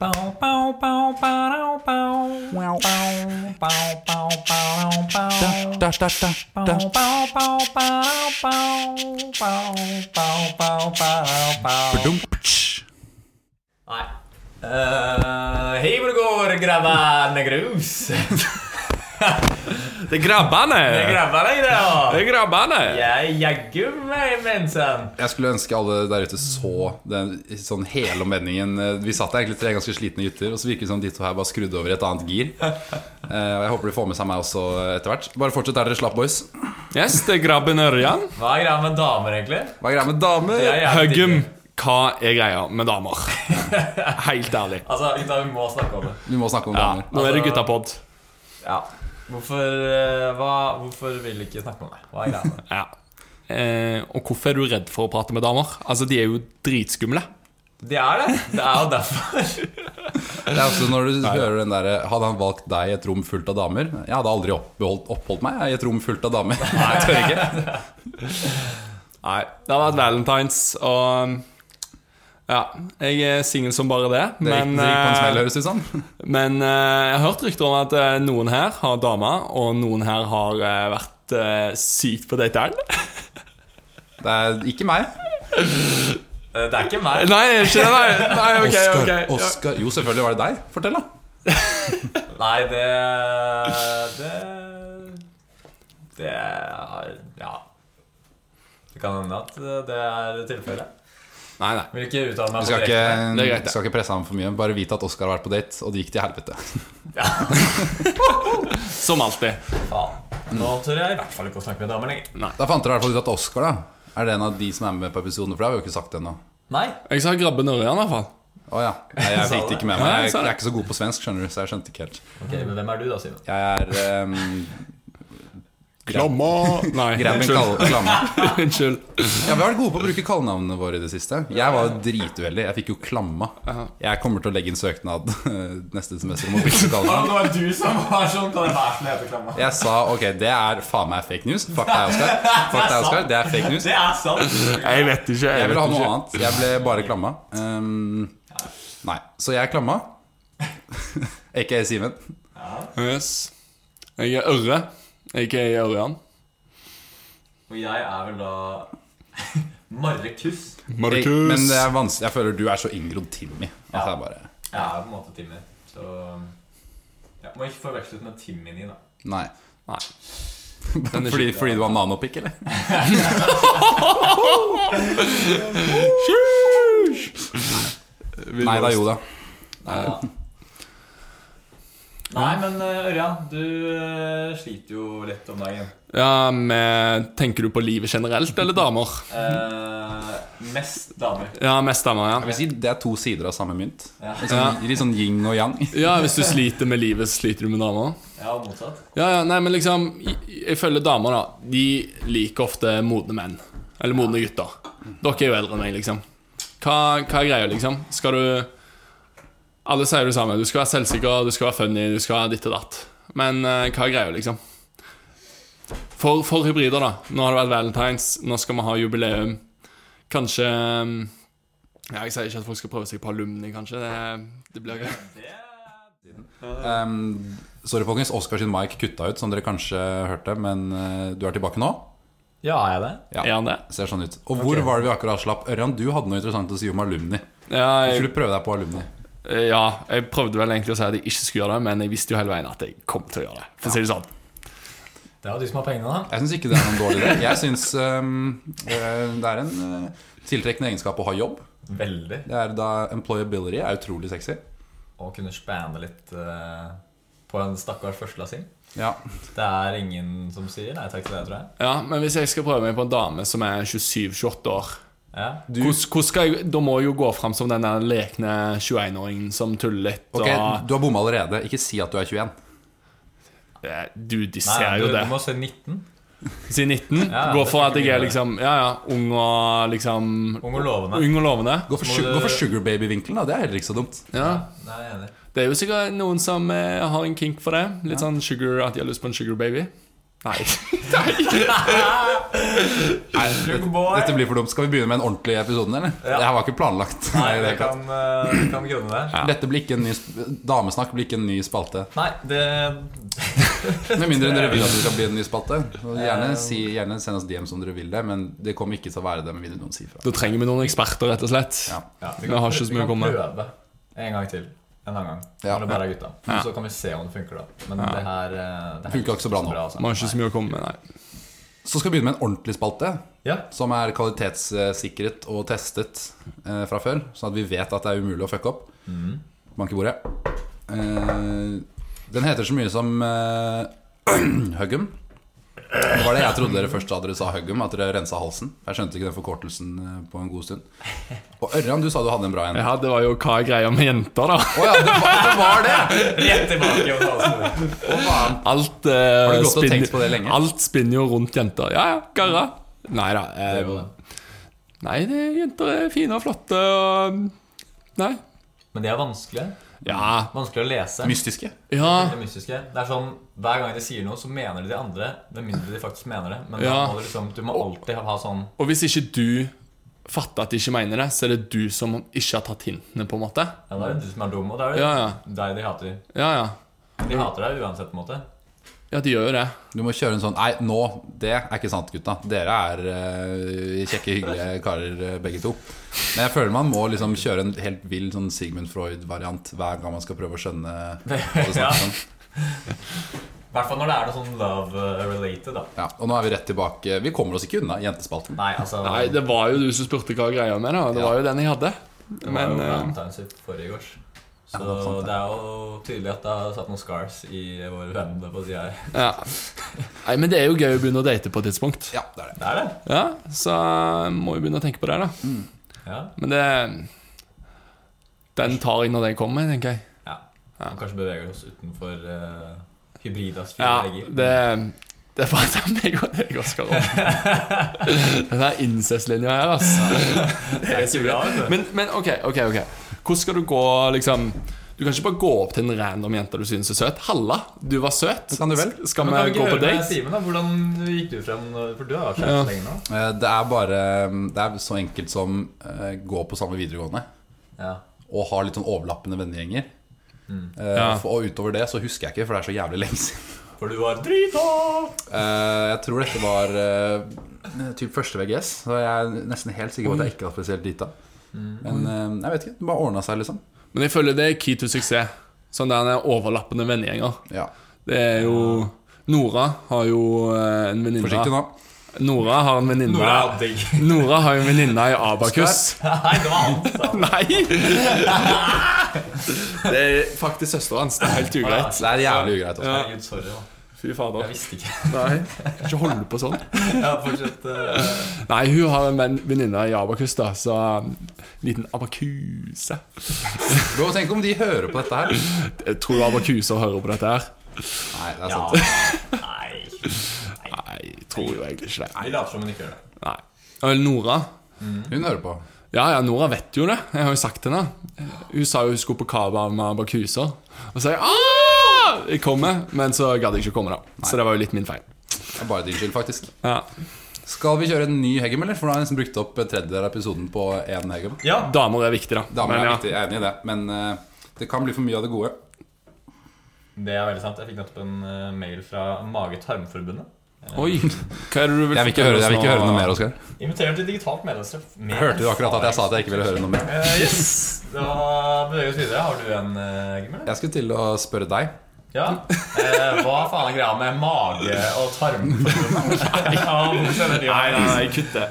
Bow, bow, bow, bow, bow. Bow, bow, bow, bow, bow. Da, da, da, da. Bow, bow, bow, bow, bow. Bow, bow, bow, bow, bow. Badum, ptsj. Nei. Eh, hei hvor det går, grabbane grus. Det er grabbene! Det er grabbane i dag. Det er grabbene! Jeg jaggu meg, mensen. Jeg skulle ønske alle der ute så den sånn hele omvendingen. Eh, Vi satt der egentlig tre ganske slitne gutter, og så virket det som de to her bare skrudde over i et annet gir. Eh, Og jeg håper de får med seg meg også etter hvert. Bare fortsett der dere slapp, boys. Yes, det er grabben Ørjan. Hva er greia med damer, egentlig? Hva er greia med damer? Det er jævlig Høggum, digg. hva er greia med damer? Helt ærlig. Altså, gutta, vi må snakke om det. Vi må snakke om Ja, altså- damer. nå er det guttapod. Ja. Hvorfor, eh, hva, hvorfor vil du ikke snakke om det? Hva er greia med det? Ja. Eh, og hvorfor er du redd for å prate med damer? Altså, de er jo dritskumle. Det er det. Det er jo derfor. Det er også når du hører den derre Hadde han valgt deg i et rom fullt av damer? Jeg hadde aldri oppholdt, oppholdt meg eh, i et rom fullt av damer. Nei, jeg tør ikke. Nei, det har vært valentines, og ja, jeg er singel som bare det. Det gikk, Men, det gikk på en eh, smell, høres det ut som. men eh, jeg har hørt rykter om at eh, noen her har dame, og noen her har eh, vært eh, sykt på dateren. Det er ikke meg. Eh, Det er ikke meg. Nei, ikke det, nei. nei ok, Oskar, ok. Ja. Oskar Jo, selvfølgelig var det deg. Fortell, da. Nei, det Det Det er Ja. Det kan hende at eh, det er tilfellet. Nei, nei. Vil ikke uttale meg Du skal på direkte. Det er ikke, greit, det. skal ikke presse ham for mye. Bare vite at Oskar har vært på date, og det gikk til helvete. Som alltid. Faen. Nå tør jeg i hvert fall ikke å snakke med damer lenger. Da fant dere i hvert fall ut at Oskar da er det en av de som er med på episoden, for det har vi jo ikke sagt ennå. Nei. Jeg sa grabben Ørjan, i hvert fall. Å ja. Nei, Jeg fikk det ikke med meg. Ja, jeg Jeg, sa det. jeg er ikke så god på svensk, skjønner du, så jeg skjønte ikke helt. Ok, Men hvem er du, da, Simen? Jeg er um, Klamma Nei, Grabben unnskyld. kall- Klamme. Unnskyld. Ja, Vi har vært gode på å bruke kallenavnene våre i det siste. Jeg var jo drituheldig. Jeg fikk jo Klamma. Jeg kommer til å legge inn søknad neste semester om å bytte kallenavn. Det var du som var sånn. Kan jeg være sånn hete Klamma? Jeg sa ok, det er faen meg fake news. Fuck deg, Oskar. Fuck deg, Oskar. Det er fake news. Det er sant. Jeg vet ikke. Jeg Jeg ville vet ha noe ikke. annet. Jeg ble bare klamma. Ehm, nei. Så jeg er klamma. Ikke Simen. Yes. Jeg er Ørre. Ikke jeg er Ørjan. Og jeg er vel da Marrekus. Jeg- Markus. Men det er vanskelig. jeg føler du er så Ingrid Timmy. At det er bare Jeg er på en måte Timmy, så ja, Må ikke forveksles med Timmini, da. Nei. Nei. er Fordi, skikkelig. fordi du har nanopikk, eller? Vil Nei da, jo da. Ja. Nei, men eh, Ørjan, du eh, sliter jo litt om dagen. Ja, men Tenker du på livet generelt, eller damer? Eh, mest damer. Ja, mest damer, Jeg ja. vil si Det er to sider av samme mynt. Ja, Litt sånn, litt sånn yin og yang. Ja, Hvis du sliter med livet, så sliter du med damer? ja og motsatt. Ja, ja, nei, men liksom i- Ifølge damer, da. De liker ofte modne menn. Eller modne gutter. Dere er jo eldre enn meg, liksom. Hva, hva er greia, liksom? Skal du Alle sier det samme. Du skal være selvsikker, du skal være funny, du skal være ditt og datt. Men eh, hva er greia, liksom? For, for hybrider, da. Nå har det vært valentines, nå skal vi ha jubileum. Kanskje mm, Ja, jeg sier ikke at folk skal prøve seg på alumni, kanskje. Det, det blir gøy. Ehm, sorry, folkens. Oskar sin mic kutta ut, som dere kanskje hørte. Men eh, du er tilbake nå. Ja, er jeg det? Er han det? Ser sånn ut. Og hvor var det vi akkurat slapp? Ørjan, du hadde noe interessant å si om alumni. Ja, Du jeg, skulle prøve deg på alumni. Eh, Ja, jeg prøvde vel egentlig å si at jeg ikke skulle gjøre det, men jeg visste jo hele veien at jeg kom til å gjøre det. For å si det sånn. Det er jo du som har pengene, da. Jeg syns ikke det er noen dårlig idé. Jeg syns øhm, øh, det er en øh, tiltrekkende egenskap å ha jobb. Veldig. Det er da Employability er utrolig sexy. Å kunne spanne litt eh, på en stakkars førstelassing. Ja, Det er ingen som sier nei takk til det, tror jeg. Ja, Men hvis jeg skal prøve meg på en dame som er 27-28 år Ja. hvordan, hvordan skal jeg, Da må jeg jo gå fram som den der lekne 21-åringen som tuller litt. ok, Og, Du har bomma allerede. Ikke si at du er 21. Eh, du, de Nei, ser du, jo det. du må se 19. Si 19. Ja, gå det for skal at jeg ikke bli er det. liksom Ja, ja, ung og liksom Ung og lovende. Ung og lovende. Gå for, Så må su- du- gå for sugarbaby-vinkelen, da. Det er heller ikke så dumt. Ja. Nei, jeg er enig. Det er jo sikkert noen som eh, har en kink for det. Litt sånn sugar, at de har lyst på en sugar baby. Nei. Dette Sugeboy. blir for dumt. Skal vi begynne med en ordentlig episode, eller? Ja. Det her var ikke planlagt. Nei, i det hele tatt. kan, eh, vi kan grunne det. Dette blir ikke en ny sp- Damesnakk blir ikke en ny spalte. Nei, det Med mindre dere vil at det skal bli en ny spalte. Og Gjerne, si, gjerne send oss DM som dere vil det, men det kommer ikke til å være det med mindre noen sier fra. Da trenger vi noen eksperter, rett og slett. Ja. ja, vi Jeg har ikke så vi mye å kan komme med. prøve en gang til. En annen gang. Ja. Når det bare er gutta. Ja. Så kan vi se om det funker, da. Men det her eh, Det her altså. Funker ikke så bra nå. Vi har ikke Nei. så mye å komme med, nei. Så skal vi begynne med en ordentlig spalte, Ja. som er kvalitetssikret og testet eh, fra før. Sånn at vi vet at det er umulig å fucke opp. Bank i bordet. Eh, den heter så mye som eh, Huggum. Det var det jeg trodde dere først sa dere sa Huggum, at dere rensa halsen. Jeg skjønte ikke den forkortelsen eh, på en god stund. Og Ørjan, du sa du hadde en bra en. Å Ja, det var jo hva er greia med jenter, da. ja, det var, det var det! Rett tilbake. og ta oss med. Å, faen. Alt, eh, Har du gått og spinner- tenkt på det lenge? Alt spinner jo rundt jenter. Ja, ja, garra. Nei da. Det Eh, var det. nei, det, jenter er fine og flotte og Nei. Men de er vanskelige. Ja. Vanskelig å lese. Mystiske. Ja. Det mystiske. Det er sånn, Hver gang de sier noe, så mener de de andre. Med mindre de faktisk mener det. Men da Ja. må du, liksom, du må alltid ha sånn Og hvis ikke du fatter at de ikke mener det, så er det du som ikke har tatt hintene, på en måte. Ja, Da er det du som er dum, og da er det Ja, ja. deg de hater. Ja, ja. De hater deg uansett, på en måte. Ja, de gjør jo det. Du må kjøre en sånn Nei, nå, det er ikke sant, gutta. Dere er eh, kjekke, hyggelige karer, eh, begge to. Men jeg føler man må liksom kjøre en helt vill sånn Sigmund Freud-variant hver gang man skal prøve å skjønne hva det Ja. snakkes om. I hvert fall når det er noe sånn love-related, da. Ja, og nå er vi rett tilbake. Vi kommer oss ikke unna jentespalten. Nei, altså Nei, det var jo du som spurte hva greia med det, og det Ja. var jo den jeg hadde. det var Men jo eh, Valentine's sitt forrige års. Så Ja, det er sant, det. det er jo tydelig at det har satt noen scars i våre venner på sida her. ja. Nei, men det er jo gøy å begynne å date på et tidspunkt. Ja, det er det. Det er det. Ja, så må jo begynne å tenke på det, da. Ja. Men det Den tar jeg når den kommer, tenker jeg. ja. Man kanskje beveger oss utenfor uh, hybridas fire Ja, vegger. det det er bare sånn det meg og deg, Oskar. Den her incest-linja her, altså. Det er så bra, altså. vet du. Men, men ok, ok, ok Hvordan skal du gå, liksom Du kan ikke bare gå opp til en random jente du synes er søt Halla, du var søt kan du vel. S- Skal Men kan vi vi ikke eh, gå høre på med date? Simen, da? Hvordan gikk du frem? når- For du har vært Ja. kjæreste lenge nå. Eh, Det er bare mm, Det er så enkelt som eh, gå på samme videregående Ja. og ha litt sånn overlappende vennegjenger. Eh, Ja. for- Og utover det så husker jeg ikke, for det er så jævlig lenge siden. For du var drita! Eh, jeg tror dette var eh, typ første VGS, så jeg er nesten helt sikker på at jeg ikke var spesielt drita. Men eh, jeg vet ikke. Det bare ordna seg, liksom. Men jeg føler det er key to suksess Sånn der den overlappende vennegjenger Ja. Det er jo Nora har jo eh, en Forsiktig venninne nå. Nora har en venninne Nora er digg. Nora har jo en venninne i Abakus Nei, det var han. sa han. Nei Det er faktisk søsteren hans Det er helt ugreit Det er jævlig ugreit. altså. Også. Herregud, sorry. da. Fy Jeg fader visste ikke. Nei Ikke holde på sånn Ja, fortsett. eh, Nei, hun har en venn- venninne i Abakus, da, så en liten abakuse. Bro, tenk om de hører på dette her. Jeg tror abakuser hører på dette her. Nei, det er Ja. sant. altså. Nei. Nei, jeg tror jo egentlig ikke det. Vi later som hun ikke gjør det. Nei. Eller Nora. Hun hører på. Ja, ja, Nora vet jo det. Jeg har jo sagt til henne. Hun sa jo hun skulle på kava med abakuser. Og så sa jeg «Ah!» Jeg kommer, men så gadd jeg ikke komme, da. Så det var jo litt min feil. Det er bare din skyld, faktisk. Ja. Skal vi kjøre en ny Heggem, eller? For nå har jeg nesten brukt opp en tredjedel av episoden på én Heggem. Ja. Damer er viktig, da. Damer Men er ja. viktig, jeg er enig i det. Men eh, det kan bli for mye av det gode. Det er veldig sant. Jeg fikk nettopp en eh, mail fra Mage-tarmforbundet. Oi. Hva er det du vil Jeg vil ikke høre, jeg vil ikke høre noe mer, Oskar. Inviterer til digitalt medlemstreff. Med- Hørte du akkurat at jeg sa at jeg ikke ville høre noe mer? Eh, yes. Da beveger vi oss videre. Har du en, uh, Gimmer? Jeg skulle til å spørre deg. Ja. Eh, hva faen er greia med mage og tarmforbundet? Ja, hvorfor skjønner de det? Nei, nei, nei, kutt det.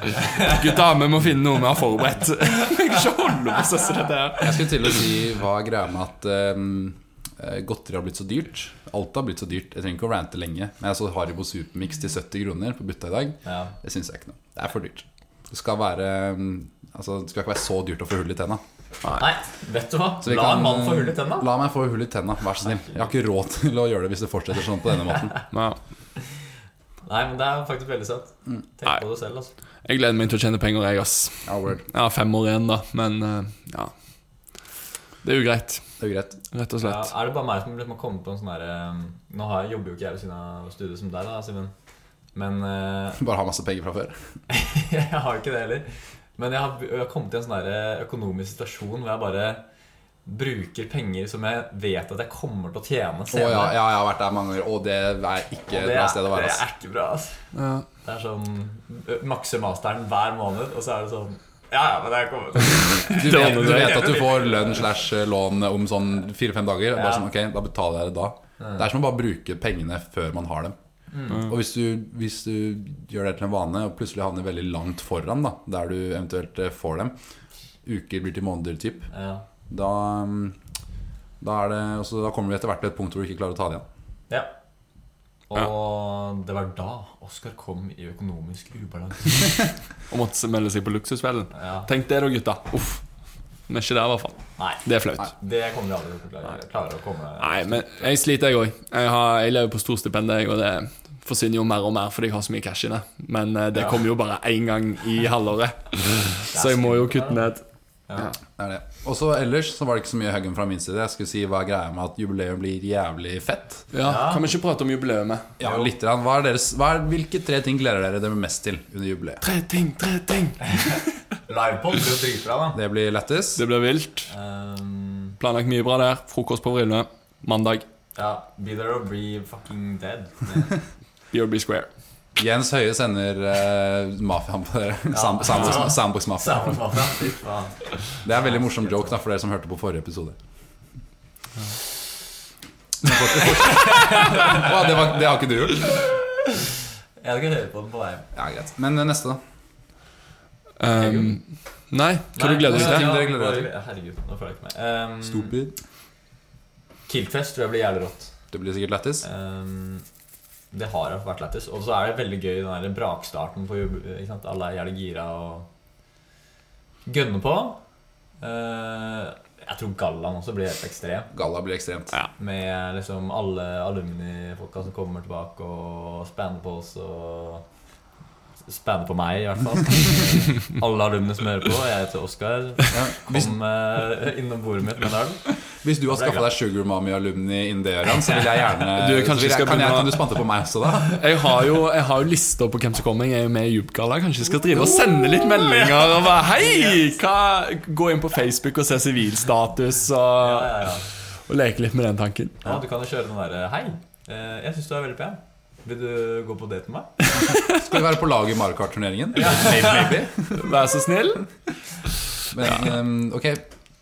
Gutta, vi må finne noe vi har forberedt. Jeg kan ikke holde på sånn som dette her. Jeg skulle til å si hva er greia med at eh, godteri har blitt så dyrt. Alt har blitt så dyrt. Jeg trenger ikke å rante lenge. Men jeg så Haribo Supermix til 70 kroner på butta i dag. Ja. Det syns jeg ikke noe. Det er for dyrt. Det skal være mm, Altså, det skal ikke være så dyrt å få hull i tenna. Nei, vet du hva? Så vi La en kan, mann få hull i tenna. La meg få hull i tenna, vær så snill. Jeg har ikke råd til å gjøre det hvis det fortsetter sånn på denne måten. Ja. Nei, men det er faktisk veldig søtt. Mm. Nei. Tenk på det selv, altså. Jeg gleder meg til å tjene penger, jeg, ass. Ja, word. Jeg har fem år igjen, da, men eh, ja. Det er ugreit, Det er jo greit. rett og Ja, slett. er det bare meg som liksom har kommet på en sånn derre Nå har jeg, jobber jo ikke jeg ved siden av studiet som deg, da, Simen. Men eh, Bare ha masse penger fra før. jeg har ikke det heller. Men jeg har, jeg har kommet i en sånn derre økonomisk situasjon hvor jeg bare bruker penger som jeg vet at jeg kommer til å tjene Å, ja, senere. ja, jeg har vært der mange ganger, og det er Og ikke et det, bra er, sted å være. det ass. er ikke bra, altså. Ja. Det er sånn ø, Makse masteren hver måned, og så er det sånn Ja, ja, men det er kommet. Du vet, ordner du seg. vet at du får lønn slash lån om sånn fire-fem dager. Bare Ja. sånn, ok, Da betaler jeg det da. Det er som å bare bruke pengene før man har dem. Og hvis du, hvis du gjør det til en vane og plutselig havner veldig langt foran, da der du eventuelt eh, får dem, uker blir til måneder, typ, Ja. da, mm, da, er det, også, da kommer vi etter hvert til et punkt hvor du ikke klarer å ta det igjen. ja. Og det var da Oskar kom i økonomisk ubalanse. Og måtte melde seg på luksusfellen. Ja. Tenk det da, gutta. Uff. Vi er ikke der, i hvert fall. Nei. Det er flaut. Det kommer jeg aldri til å klare. klare å komme Nei, men jeg sliter, jeg òg. Jeg, har- jeg lever på storstipend, jeg, og det forsvinner jo mer og mer fordi jeg har så mye cash inne. Men eh, det Ja. kommer jo bare én gang i halvåret, så jeg må jo kutte ned. Det er det. Og så ellers så var det ikke så mye huggen fra min side. Jeg skulle si hva er greia med at jubileum blir jævlig fett. Ja, Kan vi ikke prate om jubileet? Ja, litt, grann. hva er deres, hva er, hvilke tre ting gleder dere dere mest til under jubileet? Tre ting, tre ting. Livepod blir jo dritbra, da. Det blir lættis. Det blir vilt. Ehm, Planlagt mye bra der. Frokost på Vrille. Mandag. ja, be there or be fucking dead. BRB Square. Jens Høie sender uh, mafiaen på dere. Sam- Sandbox- Sandbox Mafia. Samme mafia. Fy faen. Det er en veldig morsom joke da, for dere som hørte på forrige episode. Men fortsett- fortsett. Å, det, var, det har ikke du gjort? Jeg hadde ikke hørt på den på vei. Ja, greit. Men eh, neste, da. Um, nei, hva du gleder du deg til? Ting dere gleder dere til? Herregud, nå føler jeg ikke med. Mm. Ehm, Stupid. Kiltfest tror jeg blir jævlig rått. Det blir sikkert lættis. Ehm, det har jo vært lættis. Og så er det veldig gøy den der brakstarten på jobb. Ikke sant? Alle er jævlig gira og gønner på. Ehm, jeg tror gallaen også blir helt ekstrem. Galla blir ekstremt. Med liksom alle alumni-folka som kommer tilbake og spanner på oss og Spanner på meg, i hvert fall. alle alumni som hører på. Jeg heter Oskar. Ja. Hvis, Kom eh, innom bordet mitt med en øl. hvis du har skaffa deg Sugar Mami-alumni innen det, Ørjan, så vil jeg gjerne Du, kanskje så vil jeg, skal kan, jeg, begynne- kan du spante på meg også, da? Jeg har jo, jeg har jo lister på hvem som kommer. Jeg er jo med i Djupgalla. Kanskje jeg skal drive og sende litt meldinger og bare Hei! Hva? Gå inn på Facebook og se sivilstatus Ja, og, ja, ja. og leke litt med den tanken. Ja, du kan jo kjøre den derre Hei, eh, jeg syns du er veldig pen. Vil du gå på date med meg? Skal vi være på lag i Mario Kart-turneringen? Vær så snill. Men eh, ok,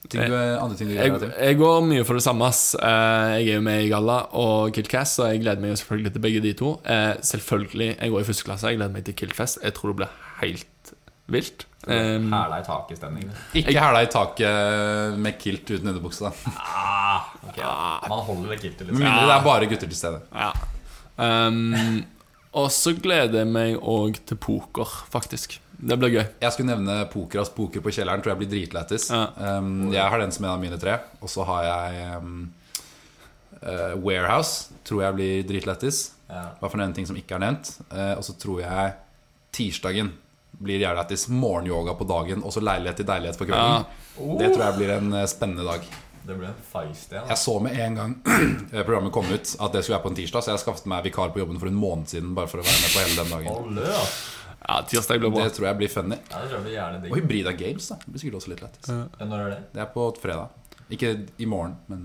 ting du, andre ting du gleder Eh, Jeg, deg til? jeg går mye for det samme. ass. Eh, Jeg er jo med i Galla og Kiltcast, så jeg gleder meg jo selvfølgelig til begge de to. Eh, Selvfølgelig, Jeg går i første klasse, jeg gleder meg til Kiltfest. Jeg tror det blir helt vilt. Eh, Hæla i taket i stemning. Ikke hæla i taket med kilt uten underbukse, da. Ah, ok, ja. Man holder liksom. det kiltet Med litt. mindre det er bare gutter til stede. Ja. Ehm, og så gleder jeg meg òg til poker, faktisk. Det blir gøy. Jeg skulle nevne poker ass poker på kjelleren. Tror jeg blir dritlættis. Ja. Um, jeg har den som en av mine tre. Og så har jeg um, eh, Warehouse. Tror jeg blir dritlættis. Ja. Hva for en ting som ikke er nevnt. Eh, og så tror jeg tirsdagen blir jævlig lættis. Morgenyoga på dagen, og så leilighet til deilighet på Ja. kvelden. Det tror jeg blir en eh, spennende dag. Det ble en feist igjen. Jeg så med en gang eh, programmet kom ut at det skulle være på en tirsdag, så jeg skaffet meg vikar på jobben for en måned siden bare for å være med på hele den dagen. Hold løs. Ja, tirsdag blir bra. Det tror jeg blir funny. Ja, det tror jeg blir jævlig Og digg. Hybrida Games da, det blir sikkert også litt lættis. Når er det? Det er på fredag. Ikke i morgen, men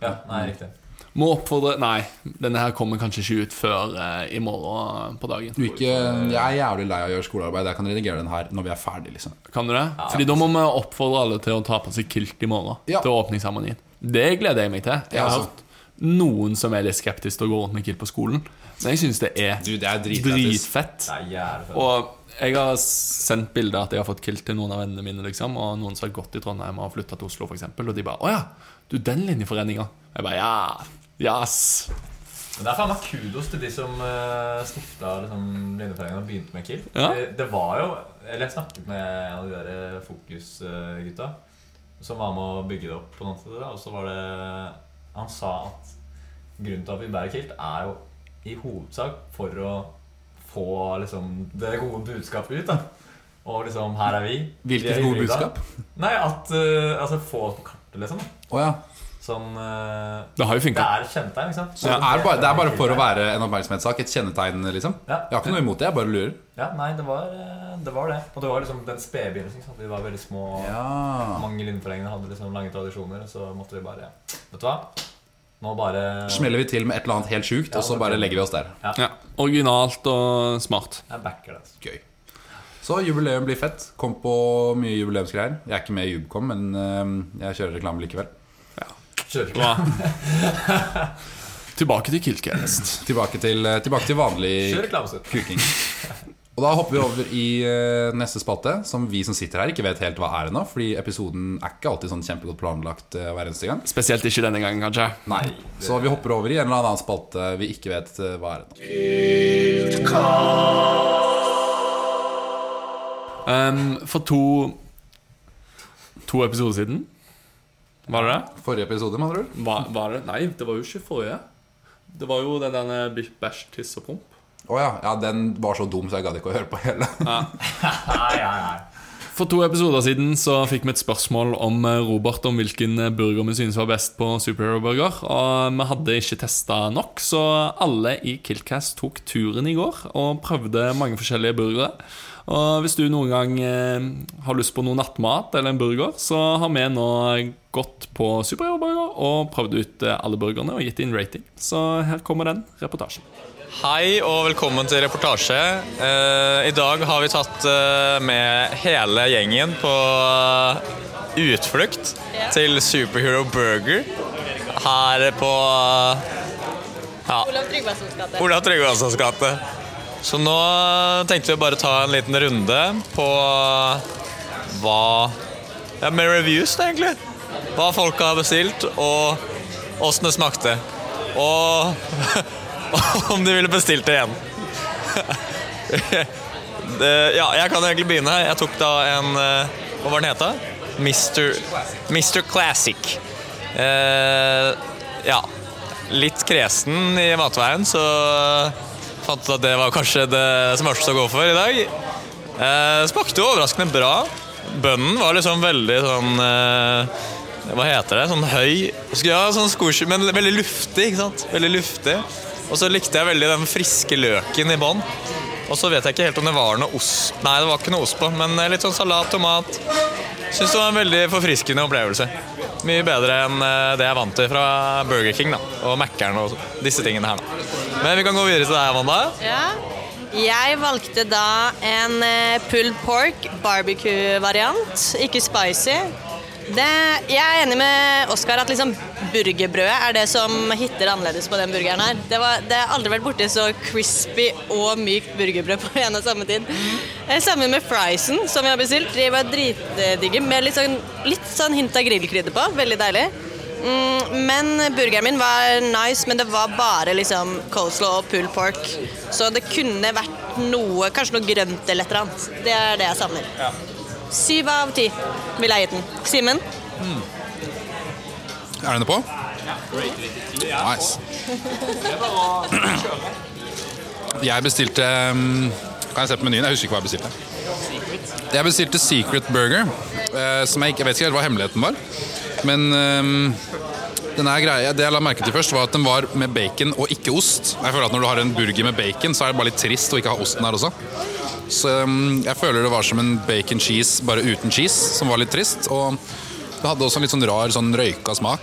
eh, Ja, nei, riktig. Må oppfordre Nei, denne her kommer kanskje ikke ut før eh, i morgen på dagen. du, ikke, Jeg er jævlig lei av å gjøre skolearbeid. Jeg kan redigere den her når vi er ferdig, liksom. Kan du det? Fordi da må vi oppfordre alle til å ta på seg kilt i morgen. Ja. Til åpningsseremonien. Det gleder jeg meg til. Jeg Ja, har altså. hørt noen som er litt skeptiske til å gå rundt med kilt på skolen. Men jeg syns det er Du, det er dritlættis. dritfett. Det er jævlig fett. Og jeg har sendt bilder at jeg har fått kilt til noen av vennene mine, liksom, og noen som har gått i Trondheim og flytta til Oslo, f.eks., og de bare 'Å ja, du, den linjeforeninga?' Jeg bare 'Ja, yes'. Men det er faen meg kudos til de som uh, stifta liksom, Linjeforeningen og begynte med KIL. Ja. Det, det var jo Eller jeg snakket med en av de der eh, Fokus-gutta som var med å bygge det opp på noe sted. da, Og så var det Han sa at grunnen til at vi bærer kilt, er jo i hovedsak for å få liksom, det gode budskapet ut. da og liksom, her er vi. Vi er Hvilket i gode bygda. budskap? Nei, at eh, altså, få oss på kartet, liksom. Å ja. Sånn eh, Det har jo Det funka. er et kjennetegn, ikke sant? Så det er, bare, det er bare for å være en oppmerksomhetssak? Et kjennetegn, liksom? Ja. Jeg har ikke noe imot det, jeg bare lurer. Ja, nei, det var, eh, det var det. Og det var liksom den spede begynnelsen. ikke sant? Vi var veldig små. Ja. Mange linjeforeningene hadde liksom lange tradisjoner, og så måtte vi bare ja. Vet du hva? Nå bare Smeller vi til med et eller annet helt sjukt, og så bare legger vi oss der. Ja, Originalt og smart. Jeg backer det. altså. Gøy. Så jubileum blir fett. Kom på mye jubileumsgreier. Jeg er ikke med i Jubcom, men eh, jeg kjører reklame likevel. Kjører ikke. Bra. Tilbake til Killcast. Tilbake til, eh, tilbake til Kjør altså. vanlig reklamestutt. kuking. Og da hopper vi over i eh, neste spalte, som vi som sitter her, ikke vet helt hva er ennå. Fordi episoden er ikke alltid sånn kjempegodt planlagt eh, hver eneste gang. Spesielt ikke denne gangen, kanskje. Nei. Så vi hopper over i en eller annen spalte vi ikke vet eh, hva er ennå. Ehm, for to To episoder siden Var det det? Forrige episode, med andre ord. Var, var det? Nei, det var jo ikke forrige. Det var jo den der bæsj, bæsj, tiss og promp. Å ja. ja. Den var så dum, så jeg gadd ikke å høre på hele. Nei, nei, nei. For to episoder siden så fikk vi et spørsmål om eh, Robert om hvilken eh, burger vi synes var best på superhero-burger. Og vi hadde ikke testa nok, så alle i Killcast tok turen i går og prøvde mange forskjellige burgere. Og hvis du noen gang eh, har lyst på noe nattmat eller en burger, så har vi nå gått på superhero-burger og prøvd ut eh, alle burgerne og gitt inn rating. Så her kommer den reportasjen. Hei og velkommen til reportasje. Eh, I dag har vi tatt eh, med hele gjengen på eh, utflukt Ja. til Superhero Burger her på Olav Tryggvasons gate. Olav Tryggvasons gate. Så nå tenkte vi å bare ta en liten runde på hva Ja, med reviews, da, egentlig. Hva folk har bestilt, og åssen det smakte. Og om de ville bestilt det igjen. det, ja, jeg kan egentlig begynne. her. Jeg tok da en eh, Hva var den heta? Mr. Mr. Classic. Eh, ja. Litt kresen i matveien, så fant ut at det var kanskje det smarteste å gå for i dag. Eh, smakte jo overraskende bra. Bønnen var liksom veldig sånn eh, Hva heter det? Sånn høy Ja, sånn squishy, men veldig luftig, ikke sant? Veldig luftig. Og så likte jeg veldig den friske løken i bånn. Og så vet jeg ikke helt om det var noe ost Nei, det var ikke noe ost på, men litt sånn salat, tomat. Syns det var en veldig forfriskende opplevelse. Mye bedre enn eh, det jeg er vant til fra Burger King da, og Mækkern og disse tingene her. da. Men vi kan gå videre til deg, Amanda. Ja. Jeg valgte da en eh, pulled pork barbecue-variant, ikke spicy. Det, jeg er enig med Oskar at liksom burgerbrødet er det som hitter annerledes på den burgeren her. Det, var, det har aldri vært borti så crispy og mykt burgerbrød på en og samme tid. Eh, Sammen med friesen som vi har bestilt. De var dritdigge med litt sånn, litt sånn hint av grillkrydder på. Veldig deilig. Mm, men burgeren min var nice, men det var bare liksom coleslaw og pulled pork. Så det kunne vært noe, kanskje noe grønt eller et eller annet. Det er det jeg savner. Syv av ti ville jeg gitt den. Simen? Er denne på? Nice. Jeg bestilte um, Kan jeg se på menyen? Jeg husker ikke hva jeg bestilte. Jeg bestilte Secret Burger, eh, som jeg, ikke, jeg vet ikke helt hva hemmeligheten var. Men um, den her greia, det jeg la merke til først, var at den var med bacon og ikke ost. Og Jeg føler at Når du har en burger med bacon, så er det bare litt trist å ikke ha osten her også. Så um, jeg føler det var som en bacon cheese bare uten cheese, som var litt trist. Og det hadde også en litt sånn rar sånn røyka smak.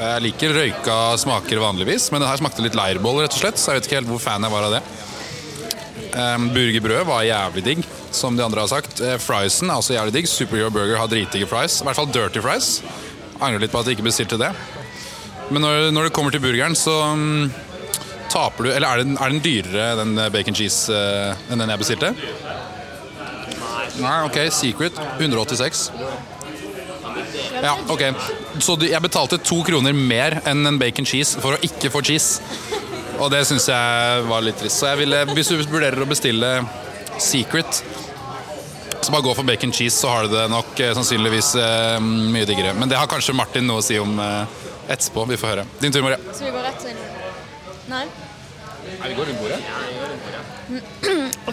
Jeg liker røyka smaker vanligvis, men den her smakte litt leirbål, rett og slett. Så jeg vet ikke helt hvor fan jeg var av det. Um, burgerbrødet var jævlig digg, som de andre har sagt. Eh, friesen er også jævlig digg. Superhero Burger har dritdigge fries. I hvert fall dirty fries. Angrer litt på at jeg ikke bestilte det. Men når, når det kommer til burgeren, så um, taper du Eller er den, er den dyrere, den eh, bacon cheese, eh, enn den jeg bestilte? Nei, ok. Secret 186. Ja, ok. Så du, jeg betalte to kroner mer enn en bacon cheese for å ikke få cheese. Og det syns jeg var litt trist. Så jeg ville, hvis du vurderer å bestille Secret, så bare gå for bacon cheese, så har du det nok eh, sannsynligvis eh, mye diggere. Men det har kanskje Martin noe å si om eh, etterpå. Vi får høre. Din tur, Maria. Så vi går rett inn? Nei. vi går rundt bordet.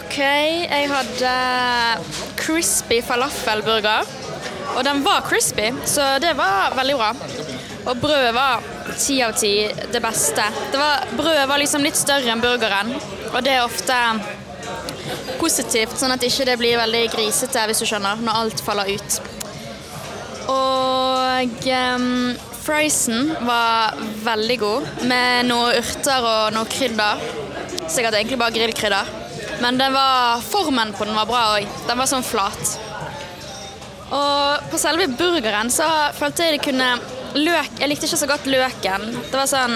OK, jeg hadde crispy falafelburger. Og den var crispy, så det var veldig bra. Og brødet var ti av ti det beste. Det var, brødet var liksom litt større enn burgeren, og det er ofte positivt, sånn at ikke det blir veldig grisete, hvis du skjønner, når alt faller ut. Og um, friesen var veldig god, med noen urter og noe krydder. Sikkert egentlig bare grillkrydder. Men den var, formen på den var bra òg. Den var sånn flat. Og på selve burgeren så følte jeg det kunne løk Jeg likte ikke så godt løken. Det var sånn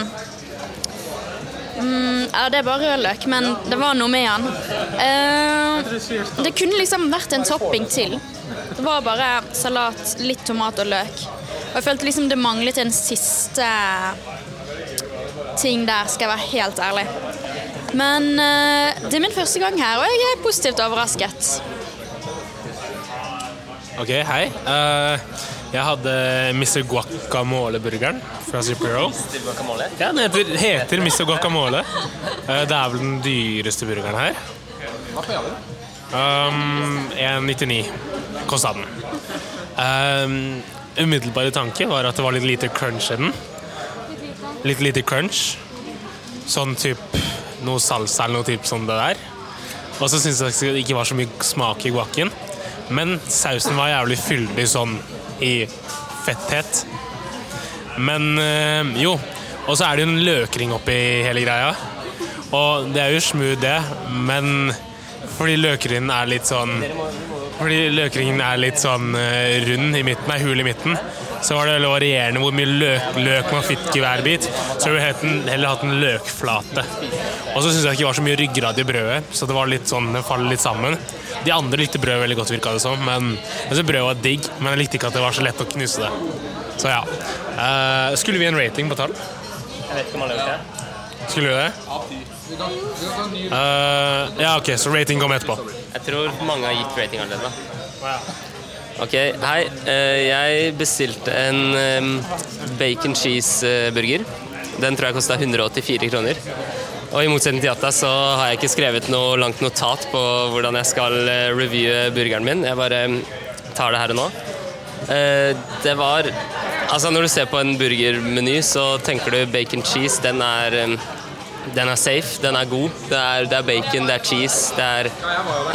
mm, Ja, det er bare rødløk, men det var noe med den. Eh, det kunne liksom vært en topping til. Det var bare salat, litt tomat og løk. Og jeg følte liksom det manglet en siste ting der, skal jeg være helt ærlig. Men eh, det er min første gang her, og jeg er positivt overrasket. Ok, hei. Eh, jeg hadde Mr. Guacamole-burgeren fra Superhero. Ja, den heter, heter Mr. Guacamole. Eh, det er vel den dyreste burgeren her. Um, 1,99 kosta den. Um, umiddelbare tanke var at det var litt lite crunch i den. Litt lite crunch. Sånn typ noe salsa eller noe typ som det der. Og så syns jeg det ikke var så mye smak i guacen. Men sausen var jævlig fyldig sånn i fetthet. Men eh, jo. Og så er det jo en løkring oppi hele greia. Og det er jo smooth, det, men fordi løkringen er litt sånn Fordi løkringen er litt sånn eh, rund i midten, nei, hul i midten, så var det veldig varierende hvor mye løk, løk man fikk i hver bit. Så ville jeg heller- heller hatt en løkflate. Og så syns jeg ikke det var så mye ryggrad i brødet, så det var litt sånn, det faller litt sammen. De andre likte brødet veldig godt, virka det som, men jeg synes brødet var digg. Men jeg likte ikke at det var så lett å knuse det. Så ja. Eh, skulle vi en rating på tall? Skulle vi det? Eh, ja, ok, så rating kommer etterpå. Jeg tror mange har gitt rating allerede. Ok, hei. Eh, Jeg bestilte en eh, bacon cheese-burger. Den tror jeg kosta 184 kroner. Og i motsetning til Jatta så har jeg ikke skrevet noe langt notat på hvordan jeg skal eh, reviewe burgeren min. Jeg bare eh, tar det her og nå. Eh, Det var Altså, når du ser på en burgermeny, så tenker du bacon cheese. Den er eh, den er safe, den er god. Det er, det er bacon, det er cheese, det er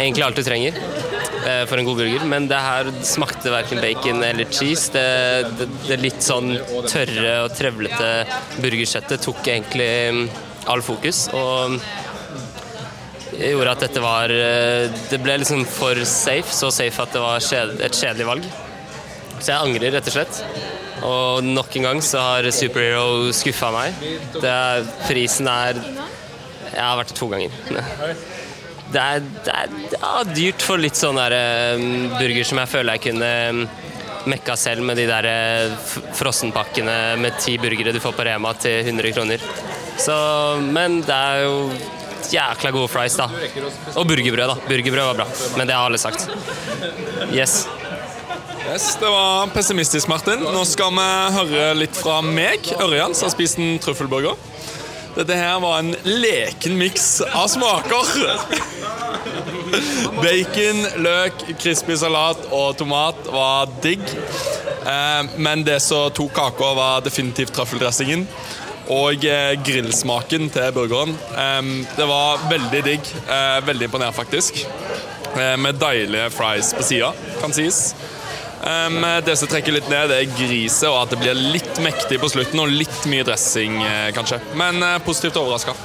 egentlig alt du trenger eh, for en god burger. Men det her smakte verken bacon eller cheese. Det, det, det litt sånn tørre og trevlete burgerkjøttet tok egentlig mm, all fokus. Og gjorde at dette var eh, Det ble liksom for safe, så safe at det var kjed- et kjedelig valg. Så jeg angrer, rett og slett. Og nok en gang så har Superhero skuffa meg. Det er, prisen er Jeg har vært der to ganger. Det er, det er, det er dyrt for litt sånn der eh, burger som jeg føler jeg kunne eh, mekka selv med de der eh, f- frossenpakkene med ti burgere du får på Rema til 100 kroner. Så, men det er jo jækla gode fries, da. Og burgerbrød, da. Burgerbrød var bra, men det har alle sagt. Yes. Yes, det var pessimistisk, Martin. Nå skal vi høre litt fra meg, Ørjan, som har spist en trøffelburger. Dette her var en leken miks av smaker. Bacon, løk, crispy salat og tomat var digg. Eh, Men det som tok kaka, var definitivt trøffeldressingen. Og eh, grillsmaken til burgeren. Eh, Det var veldig digg. eh, Veldig imponert, faktisk. Eh, Med deilige fries på sida, kan sies. Um, det som trekker litt ned, det er griset og at det blir litt mektig på slutten. Og litt mye dressing, eh, kanskje. Men eh, positivt overraska.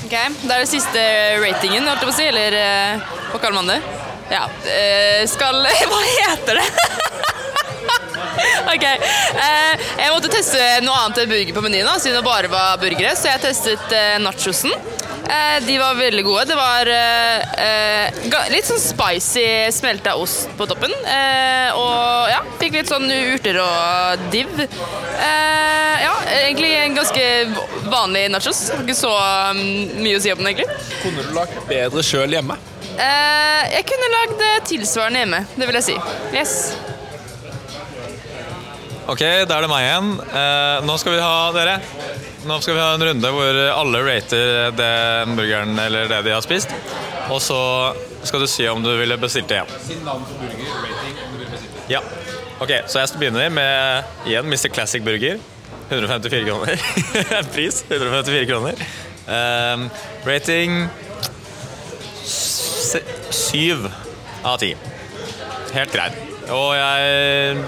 Ok, Det er det siste ratingen, holdt jeg på å si. Eller eh, hva kaller man det? Ja. eh, skal Hva heter det? ok. eh, jeg måtte teste noe annet enn burger på menyen, da, siden det bare var burgere. Så jeg testet eh, nachosen. Eh, de var veldig gode. Det var eh, eh, ga- litt sånn spicy smelta ost på toppen. Eh, og ja, fikk litt sånn urter og div. Eh, ja, egentlig en ganske vanlig nachos. Ikke så mm, mye å si om den, egentlig. Kunne du lagd bedre sjøl hjemme? Eh, jeg kunne lagd eh, tilsvarende hjemme, det vil jeg si. Yes. Ok, da er det meg igjen. Eh, nå skal vi ha dere. Nå skal vi ha en runde hvor alle rater den burgeren eller det de har spist. Og så skal du si om du ville bestilt det igjen. Sin navn på burger, rating, om du vil besitte. Ja. Ok, så jeg begynner med igjen Mr. Classic Burger. 154 kroner. Pris 154 kroner. Ehm, rating se- syv av ti. Helt grei. Og jeg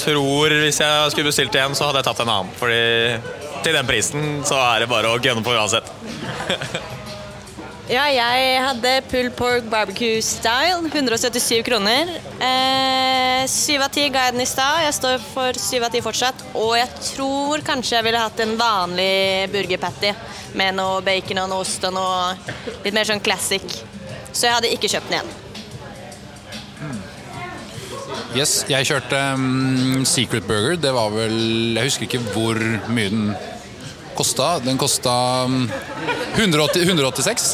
tror hvis jeg skulle bestilt igjen, så hadde jeg tatt en annen. Fordi til den prisen så er det bare å gunne på uansett. Ja, jeg hadde pulled pork barbecue style. 177 kroner. Eh, 7 av 10 ga jeg den i stad. Jeg står for 7 av 10 fortsatt. Og jeg tror kanskje jeg ville hatt en vanlig burger patty med noe bacon og noe ost og noe litt mer sånn classic. Så jeg hadde ikke kjøpt den igjen. Yes, jeg kjørte mm, Secret Burger. Det var vel Jeg husker ikke hvor mye den kosta. Den kosta mm, 180, 186,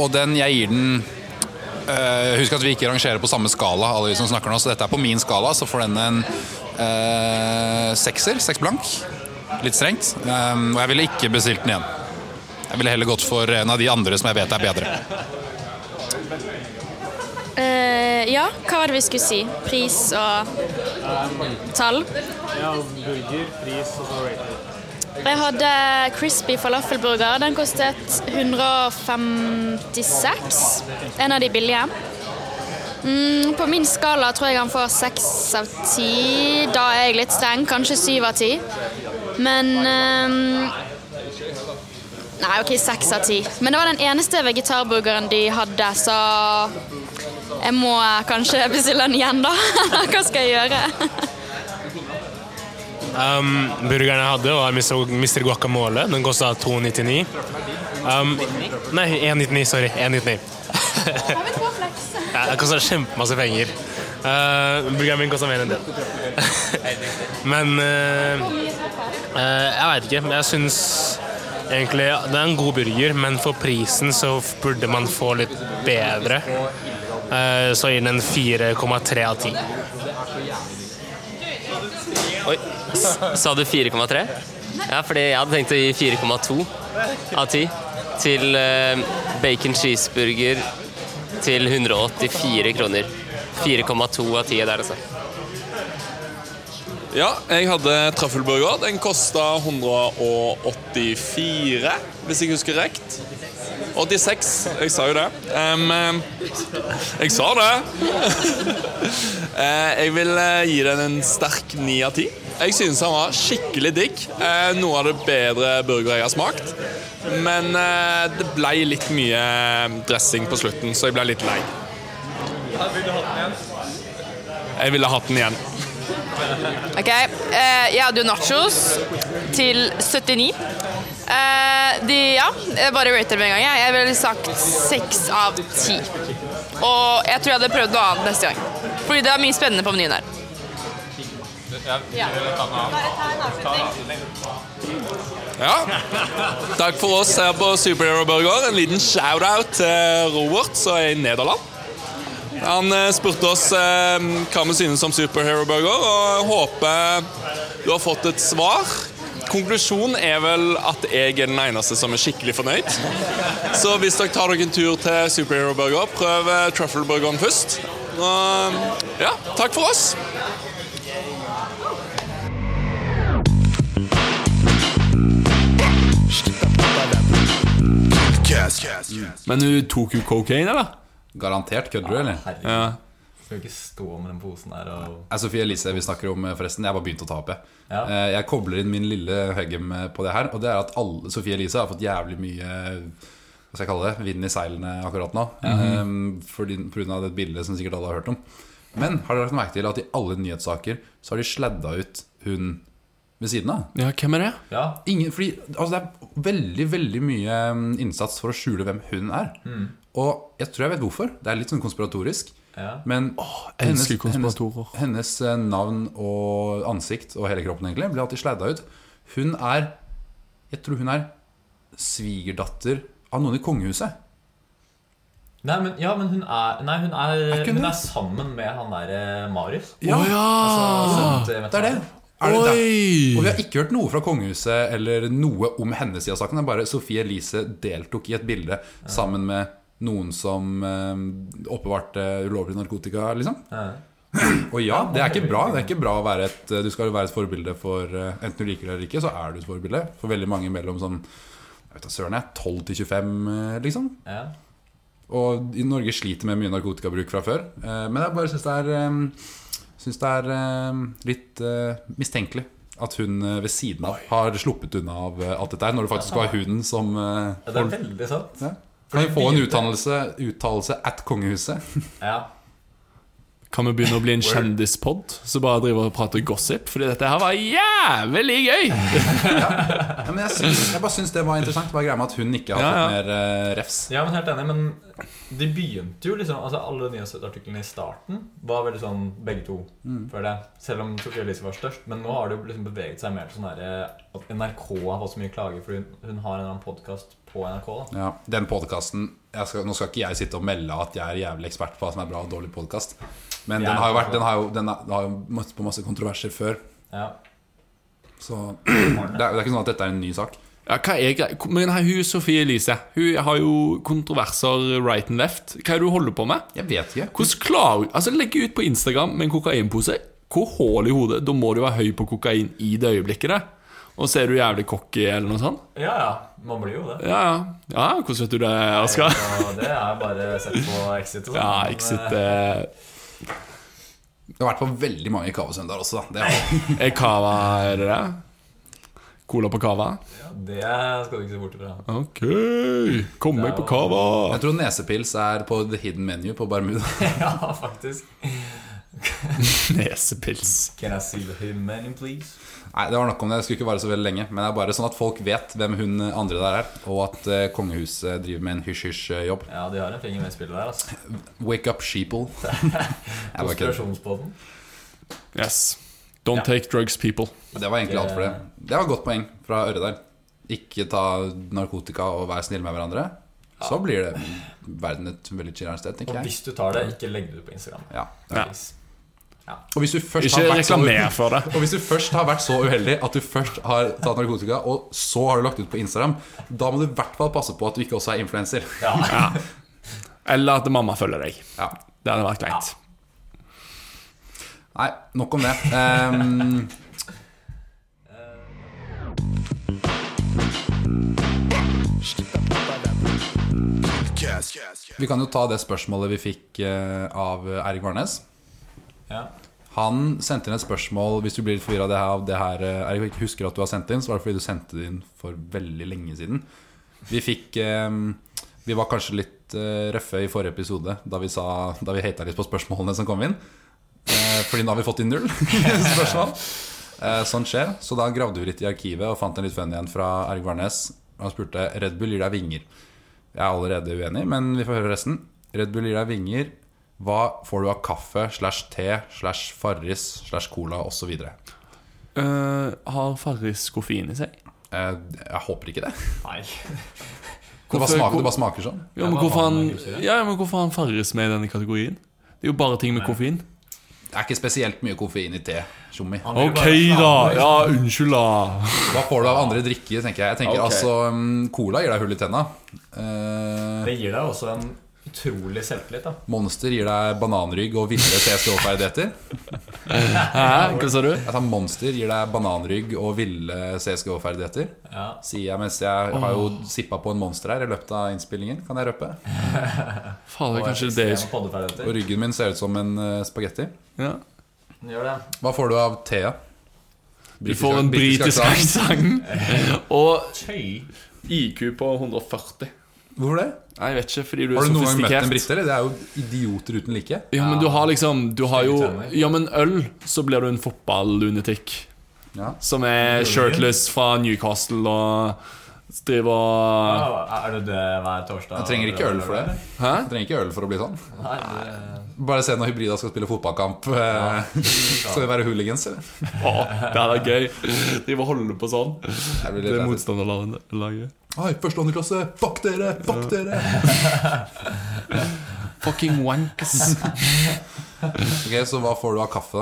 og den jeg gir den eh, Husk at vi ikke rangerer på samme skala, alle vi som snakker nå, så dette er på min skala. Så får den en eh, sekser, seks blank. Litt strengt. Um, og jeg ville ikke bestilt den igjen. Jeg ville heller gått for en av de andre som jeg vet er bedre. Eh, ja, hva var det vi skulle si? Pris og tall? Ja, burger, pris og så rating. Jeg hadde crispy falafelburger. Den kostet 156. En av de billige. Mm, på min skala tror jeg han får seks av ti. Da er jeg litt streng. Kanskje syv av ti. Men ehm, Nei, OK, seks av ti. Men det var den eneste vegetarburgeren de hadde, så jeg må eh, kanskje bestille den igjen, da. Hva skal jeg gjøre? Um, burgeren jeg hadde, var Mr. Mr. Guacamole. Den kosta 2,99. Um, nei, 1,99. Sorry. 1,99. ja, det kosta kjempemasse penger. Uh, burgeren min kosta mer enn det. Men eh, eh, jeg veit ikke. Jeg syns egentlig det er en god burger, men for prisen så burde man få litt bedre. Eh, så gir den en 4,3 av 10. Oi, s- sa du 4,3? Ja, fordi jeg hadde tenkt å gi 4,2 av 10 til eh, bacon cheeseburger til 184 kroner. 4,2 av 10 der, altså. Ja, jeg hadde trøffelburger. Den kosta 184, hvis jeg husker rett. 86. Jeg sa jo det. Em, em, jeg sa det! Eh, jeg vil eh, gi den en sterk 9 av 10. Jeg synes han var skikkelig digg. Eh, noe av det bedre burgere jeg har smakt. Men eh, det ble litt mye eh, dressing på slutten, så jeg ble litt lei. Jeg ville hatt den igjen. Ok, eh, jeg hadde jo nachos til 79. Eh, de, ja, jeg bare rater med en gang. Jeg, jeg ville sagt 6 av 10. Og jeg tror jeg hadde prøvd noe annet neste gang. Fordi det er mye spennende på menyen her. Ja. Bare ta en avslutning. Ja. Takk for oss her på Superhero Burger. En liten shout-out til Robert, som er i Nederland. Han eh, spurte oss eh, hva vi synes om Superhero Burger, og håper du har fått et svar. Konklusjonen er vel at jeg er den eneste som er skikkelig fornøyd. Så hvis dere tar dere en tur til Superhero Burger, prøv eh, truffelburgeren først. Og, ja, takk for oss. Men du tok jo kokain, eller? Garantert. Kødder du, eller? Ja. Skal jo ikke stå med den posen her og er Sofie Altså, Elise vi snakker om, eh, forresten. Jeg bare begynte å tape. Eh, Jeg kobler inn min lille høggem på det her, og det er at alle Sofie Elise har fått jævlig mye hva skal jeg kalle det, vind i seilene akkurat nå. Mhm. Eh, fordi- På grunn av det bildet som sikkert alle har hørt om. Men har dere lagt merke til at i alle nyhetssaker så har de sladda ut hun ved siden av? Ja, hvem er det? Ingen, fordi, altså det er veldig, veldig mye mm, innsats for å skjule hvem hun er. Mm. Og jeg tror jeg vet hvorfor. Det er litt sånn konspiratorisk. Ja. Men jeg elsker hennes, hennes eh, navn og ansikt og hele kroppen egentlig blir alltid sladda ut. Hun er Jeg tror hun er svigerdatter av noen i kongehuset. Nei, men, ja, men hun er, nei, hun er, ikke hun hun det? er sammen med han derre Marius. Ja. Å, ja. Altså, Det er det. Er det der? Og vi har ikke hørt noe fra kongehuset eller noe om hennes side av saken. Det er bare Sofie Elise deltok i et bilde sammen med noen som eh, oppbevarte ulovlig narkotika, liksom. Og ja, det er ikke bra. Det er ikke bra å være et, du skal jo være et forbilde for eh, Enten du liker det eller ikke, så er du et forbilde for veldig mange mellom sånn jeg vet da søren jeg, 12 til 25, eh, liksom. Ja. Og i Norge sliter med mye narkotikabruk fra før. eh, Men jeg bare syns det er, eh, synes det er eh, litt eh, mistenkelig at hun eh, ved siden av har sluppet unna av eh, alt dette her, når du faktisk Ja. var hun som eh, Ja, det er hold- veldig sant. Ja. Kan vi få en uttalelse, uttalelse at kongehuset? Ja. Kan vi begynne å bli en kjendispod som bare driver og prater gossip? Fordi dette her var jævlig gøy! Ja, men jeg, syns, jeg bare syns det var interessant. Bare greia med at hun ikke har Ja, fått mer eh, refs. Ja, men helt enig, men de begynte jo liksom Altså Alle nyhetsartiklene i starten var veldig sånn begge to, Mm. føler jeg. Selv om Sofie Elise var størst. Men nå har det jo liksom beveget seg mer til sånn derre at NRK har fått så mye klager fordi hun, hun har en eller annen podkast på NRK. da Ja, den podkasten skal, Nå skal ikke jeg sitte og melde at jeg er jævlig ekspert på hva som er bra og dårlig podkast, men den har jo vært Den har jo, den er, den har jo møtt på masse kontroverser før. Ja. Så det er, det er ikke sånn at dette er en ny sak. Ja, hva er grei- Men her, hun Sofie Elise Hun har jo kontroverser right and left. Hva er det hun holder på med? Jeg vet ikke Hvordan klarer hun Altså, legge ut på Instagram med en kokainpose. Hvor hull i hodet? Da må du være høy på kokain i det øyeblikket. Det. Og så er du jævlig cocky eller noe sånt. Ja, ja. Man blir jo det. Ja, ja. ja hvordan vet du det, Aska? Og det er bare sett på Exit. og sånn. Ja, Men, Exit eh, eh, Det har vært på veldig mange Cava-søndager også, da. Det er, Er cava er det det? Cola på cava? eh, Det skal du ikke se bort ifra. Ok, kom meg på cava! Jeg tror nesepils er på the hidden menu på Barmuda. Ja, faktisk. Nesepils. Can I see the hidden menu, please? Nei, det var nok om det. Det skulle ikke vare så veldig lenge. Men det er bare sånn at folk vet hvem hun andre der er, og at eh, kongehuset driver med en hysj-hysj-jobb. Ja, de har en finger med i spillet der, altså. Wake up sheeple. Jeg bare kødder. Konspirasjonspodden. Yes. Don't Ja. take drugs, people. Det var egentlig alt for det. Det var et godt poeng fra Øre der. Ikke ta narkotika og være snille med hverandre. Så blir det verden et veldig chiller'n sted, tenker Og jeg. hvis du tar det, ikke legg det ut på Instagram. Ja. Ja. Og hvis du først Ikke har vært så- reklamer for det. Og hvis du først har vært så uheldig at du først har tatt narkotika, og så har du lagt ut på Instagram, da må du i hvert fall passe på at du ikke også er influenser. Ja. Eller at mamma følger deg. Det hadde vært greit. Nei, nok om det. Ehm, vi kan jo ta det spørsmålet vi fikk eh, av Eirik Varnes. Ja. Han sendte inn et spørsmål Hvis du blir litt forvirra av det her, av det her eh, Eirik, og ikke husker at du har sendt det inn, så var det fordi du sendte det inn for veldig lenge siden. Vi fikk eh, Vi var kanskje litt eh, røffe i forrige episode da vi, sa, da vi hata litt på spørsmålene som kom inn. Eh, Fordi nå har vi fått inn null spørsmål. Eh, Sånt skjer. Så da gravde vi litt i arkivet og fant en litt funny en fra Erik Varnes. Han spurte Red Bull gir deg vinger. Jeg er allerede uenig, men vi får høre resten. Red Bull gir deg vinger. Hva får du av kaffe slash te slash Farris slash cola osv.? Eh, har Farris koffein i seg? Eh, Jeg håper ikke det. Nei. Det bare smaker, det bare smaker sånn. Ja, men hvorfor han, ja, men hvorfor har han Farris med i denne kategorien? Det er jo bare ting med koffein. Det er ikke spesielt mye koffein i te, tjommi. Ok, da. Ja, unnskyld, da. Hva får du av andre drikker, tenker jeg. Jeg tenker Ok. altså um, Cola gir deg hull i tenna. Eh, Det gir deg også en utrolig selvtillit, da. Monster gir deg bananrygg og ville CSGO-ferdigheter. Hæ? Hva sa du? Jeg sa Monster gir deg bananrygg og ville CSGO-ferdigheter. Ja. Sier jeg mens jeg har jo sippa på en monster her i løpet av innspillingen, kan jeg røpe. Faen, det er kanskje det jeg skulle- Og ryggen min ser ut som en eh, spagetti. Ja. Gjør det. Hva får du av tea? Du får en britisk aksent. Og IQ på 140. Hvorfor det? Nei, Jeg vet ikke, fordi du er Har du noen gang møtt sofistikert. en brite, eller? Det er jo idioter uten like. Ja, men du har liksom Du har jo Stygge tenner. Ja, men øl, så blir du en fotballunetikk. Ja. Som er shirtless fra Newcastle og Driver og Wow, Er du det hver torsdag? Jeg trenger ikke øl for det. Hæ? Jeg trenger ikke øl for å bli sånn. Nei, det- Bare se når Hybrida skal spille fotballkamp. eh, Skal vi være hooligans, eller? Å, det her er gøy. Driver og holder på sånn. blir litt Det er lættis. motstanderlaget. Oi, førsteåndeklasse! Fuck dere! Fuck dere! Fucking wankers. ok, Så hva får du av kaffe,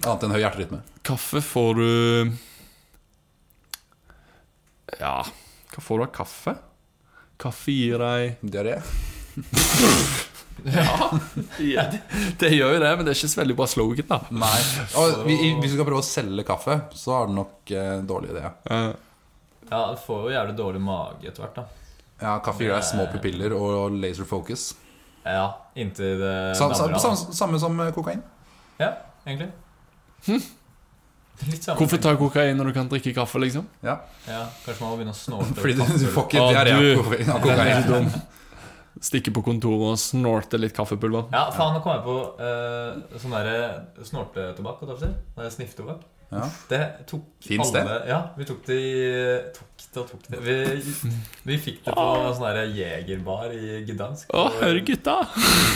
da? Annet enn høy hjerterytme. Kaffe får du Ja, hva får du av kaffe? Kaffe gir deg Diaré? ja, ja det, det gjør jo det, men det er ikke så veldig bra slogan, da. Nei. Og vi, i- hvis du skal prøve å selge kaffe, så er det nok eh, dårlig idé. Ja, du får jo jævlig dårlig mage etter hvert, da. Ja, kaffe gir deg små pupiller og laser focus. Ja, inntil eh, det Sam, sam, dammer av. sam, samme som eh, kokain. Ja, egentlig. Litt samme Hvorfor ting. ta kokain når du kan drikke kaffe, liksom? Ja. Ja, Kanskje man må begynne å snorte Fordi du- du får ikke Å, diaré av du, kokain- av den er kokain. så dum. Stikke på kontoret og snorte litt kaffepulver. Ja, faen, nå kom jeg på eh, sånn derre snortetobakk. holdt jeg på å si. Snifftobakk. Ja. Det tok Finnes det? alle Ja, vi tok det i tok det og tok det. Vi, vi fikk det på sånn derre jegerbar i Gdansk. Å, hør gutta!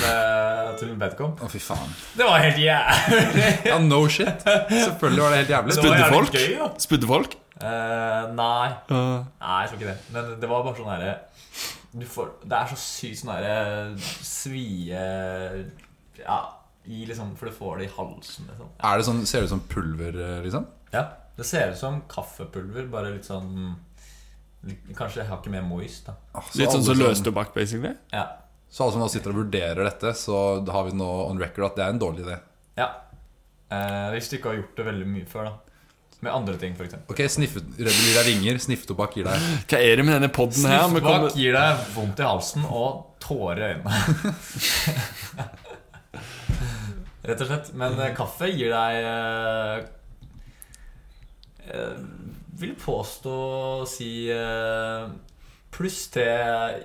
Med, til Bedcom. Å, fy faen. Det var helt jævlig! Ja, no shit. Selvfølgelig var det helt jævlig. Det var Spydde jævlig folk? gøy, da. Spydde folk? Eh, nei. Eh. Nei, jeg tror ikke det. Men det var bare sånn herre du får, Det er så sykt sånn herre svie Ja, i liksom For du får det i halsen, liksom. Er det sånn, Ser det ut som pulver, eh, liksom? Ja. Det ser ut som kaffepulver, bare litt sånn litt- Kanskje hakket mer moist, da. Så sånn alle basically? Ja. Så alle som nå sitter og vurderer dette, så har vi nå on record at det er en dårlig idé. ja. Eh, hvis du ikke har gjort det veldig mye før, da. Med andre ting, f.eks. Ok, Snifferebel gir deg vinger, snifftobakk gir deg Hva er det med denne podden her? Vi Sniffbak kommer- gir deg vondt i halsen og tårer i øynene. Rett og slett. Men eh, kaffe gir deg eh, eh, Vil påstå å si eh, pluss tre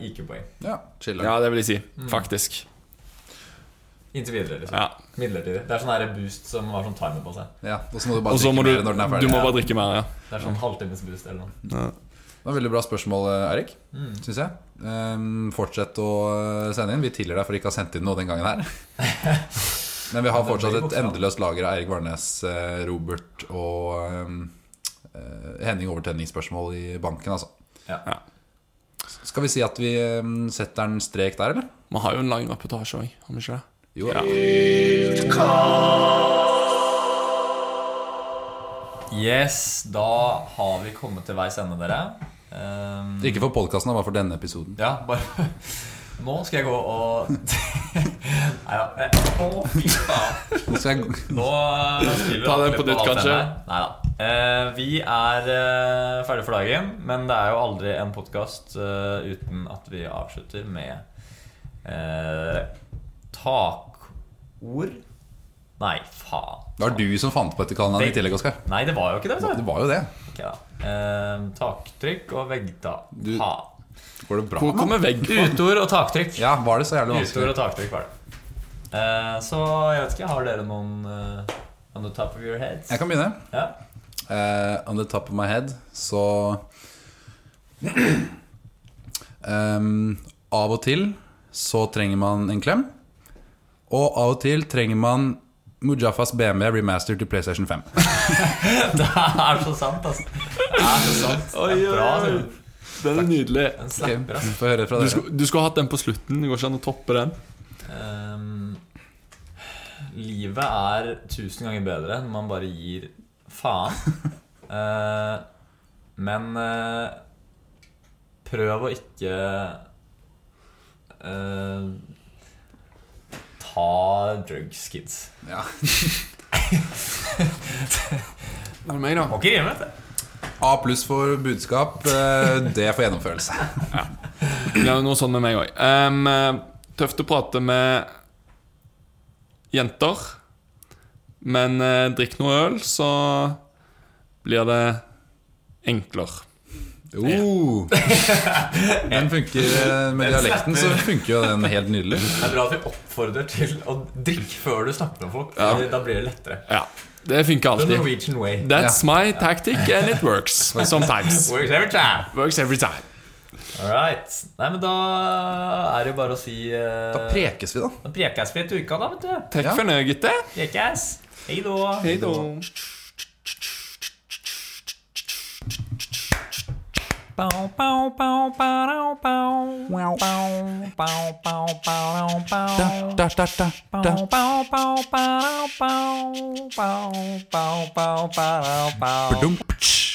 IQ-poeng. Ja, chiller. Ja, det vil jeg si. Mm. Faktisk. Inntil videre. liksom Ja. Midlertidig. Det er sånn her boost som har sånn timer på seg. Ja, og så må du bare Og så drikke må du, mer når den er ferdig. du må Ja. bare drikke mer, ja. Det er sånn halvtimes boost eller noe. Det var veldig bra spørsmål, eh, Erik, Mm. synes syns jeg. Ehm, fortsett å eh, sende inn. Vi tilgir deg for ikke å ha sendt inn noe den gangen her. Men vi har Ja, det blir fortsatt et bokstav. endeløst lager av Eirik Varnes, eh, Robert og ehm, eh, Henning Overtenning-spørsmål i banken, altså. Ja. Skal vi si at vi ehm, setter en strek der, eller? Vi har jo en lang reportasje òg, har vi ikke det? Jo, Yes, da har vi kommet til veis ende, dere. Ehm, Ikke for podkasten, bare for denne episoden. Ja, bare Nå skal jeg gå og Nei da. Å, fy faen. Nå skal jeg Nå eh, skriver Ta den Atle på nytt, alt kanskje. denne. Neida. Eh, vi er eh, ferdige for dagen, men det er jo aldri en podkast uten at vi avslutter med eh, takord. Nei, faen. Det var du som fant på dette kallenavnet i tillegg, Oskar. Nei, det var jo ikke det. vet du. Det var jo det. Ok, da. Eh, taktrykk og veggtak. Du- Går det bra? Hvor mann? kommer vegg fra? Utord og taktrykk. Ja, var det så jævlig Utord og vanskelig? taktrykk var det. Eh, så jeg vet ikke, har dere noen eh, on the top of your heads? Jeg kan begynne. Ja. Eh, on the top of my head, så Ehm, Av og til så trenger man en klem. Og av og til trenger man Mujafas BMW remaster til PlayStation 5. Det er så sant, altså. Det er så sant. Det Oi, er bra. oi, oi. altså. Den er nydelig. Den Ok, slapper, altså. vi får høre fra Du dere. skulle, du skulle hatt den på slutten. Det går ikke an å toppe den. Ehm, livet er tusen ganger bedre når man bare gir faen. Eh, men eh, prøv å ikke eh, ta drugs, kids. Ja. Er det meg, da? Må ikke rime, vet du. A pluss for budskap, eh, det for gjennomførelse. Det er jo noe sånn med meg òg. tøft å prate med jenter. Men eh, drikk noe øl, så blir det enklere. Oh. Den funker eh, med dialekten, så funker jo den helt nydelig. Det er bra at vi oppfordrer til å drikke før du snakker med folk. Ja. fordi Da blir det lettere. Ja, det funker The alltid. Norwegian way. That's Ja. my tactic, and it works sometimes. Works every time. Works every time. All right. Nei, men da er det jo bare å si Da prekes vi, da. Da prekes vi etter uka, da, vet du. Takk for nå, gutter. Prekes. Hei da. Hei da. Bow, bow, bow, bow, bow. Wow, bow, bow, bow, bow, bow. Da, da, da, da. Bow, bow, bow, bow, bow, bow. Bow, bow, bow, bow, bow.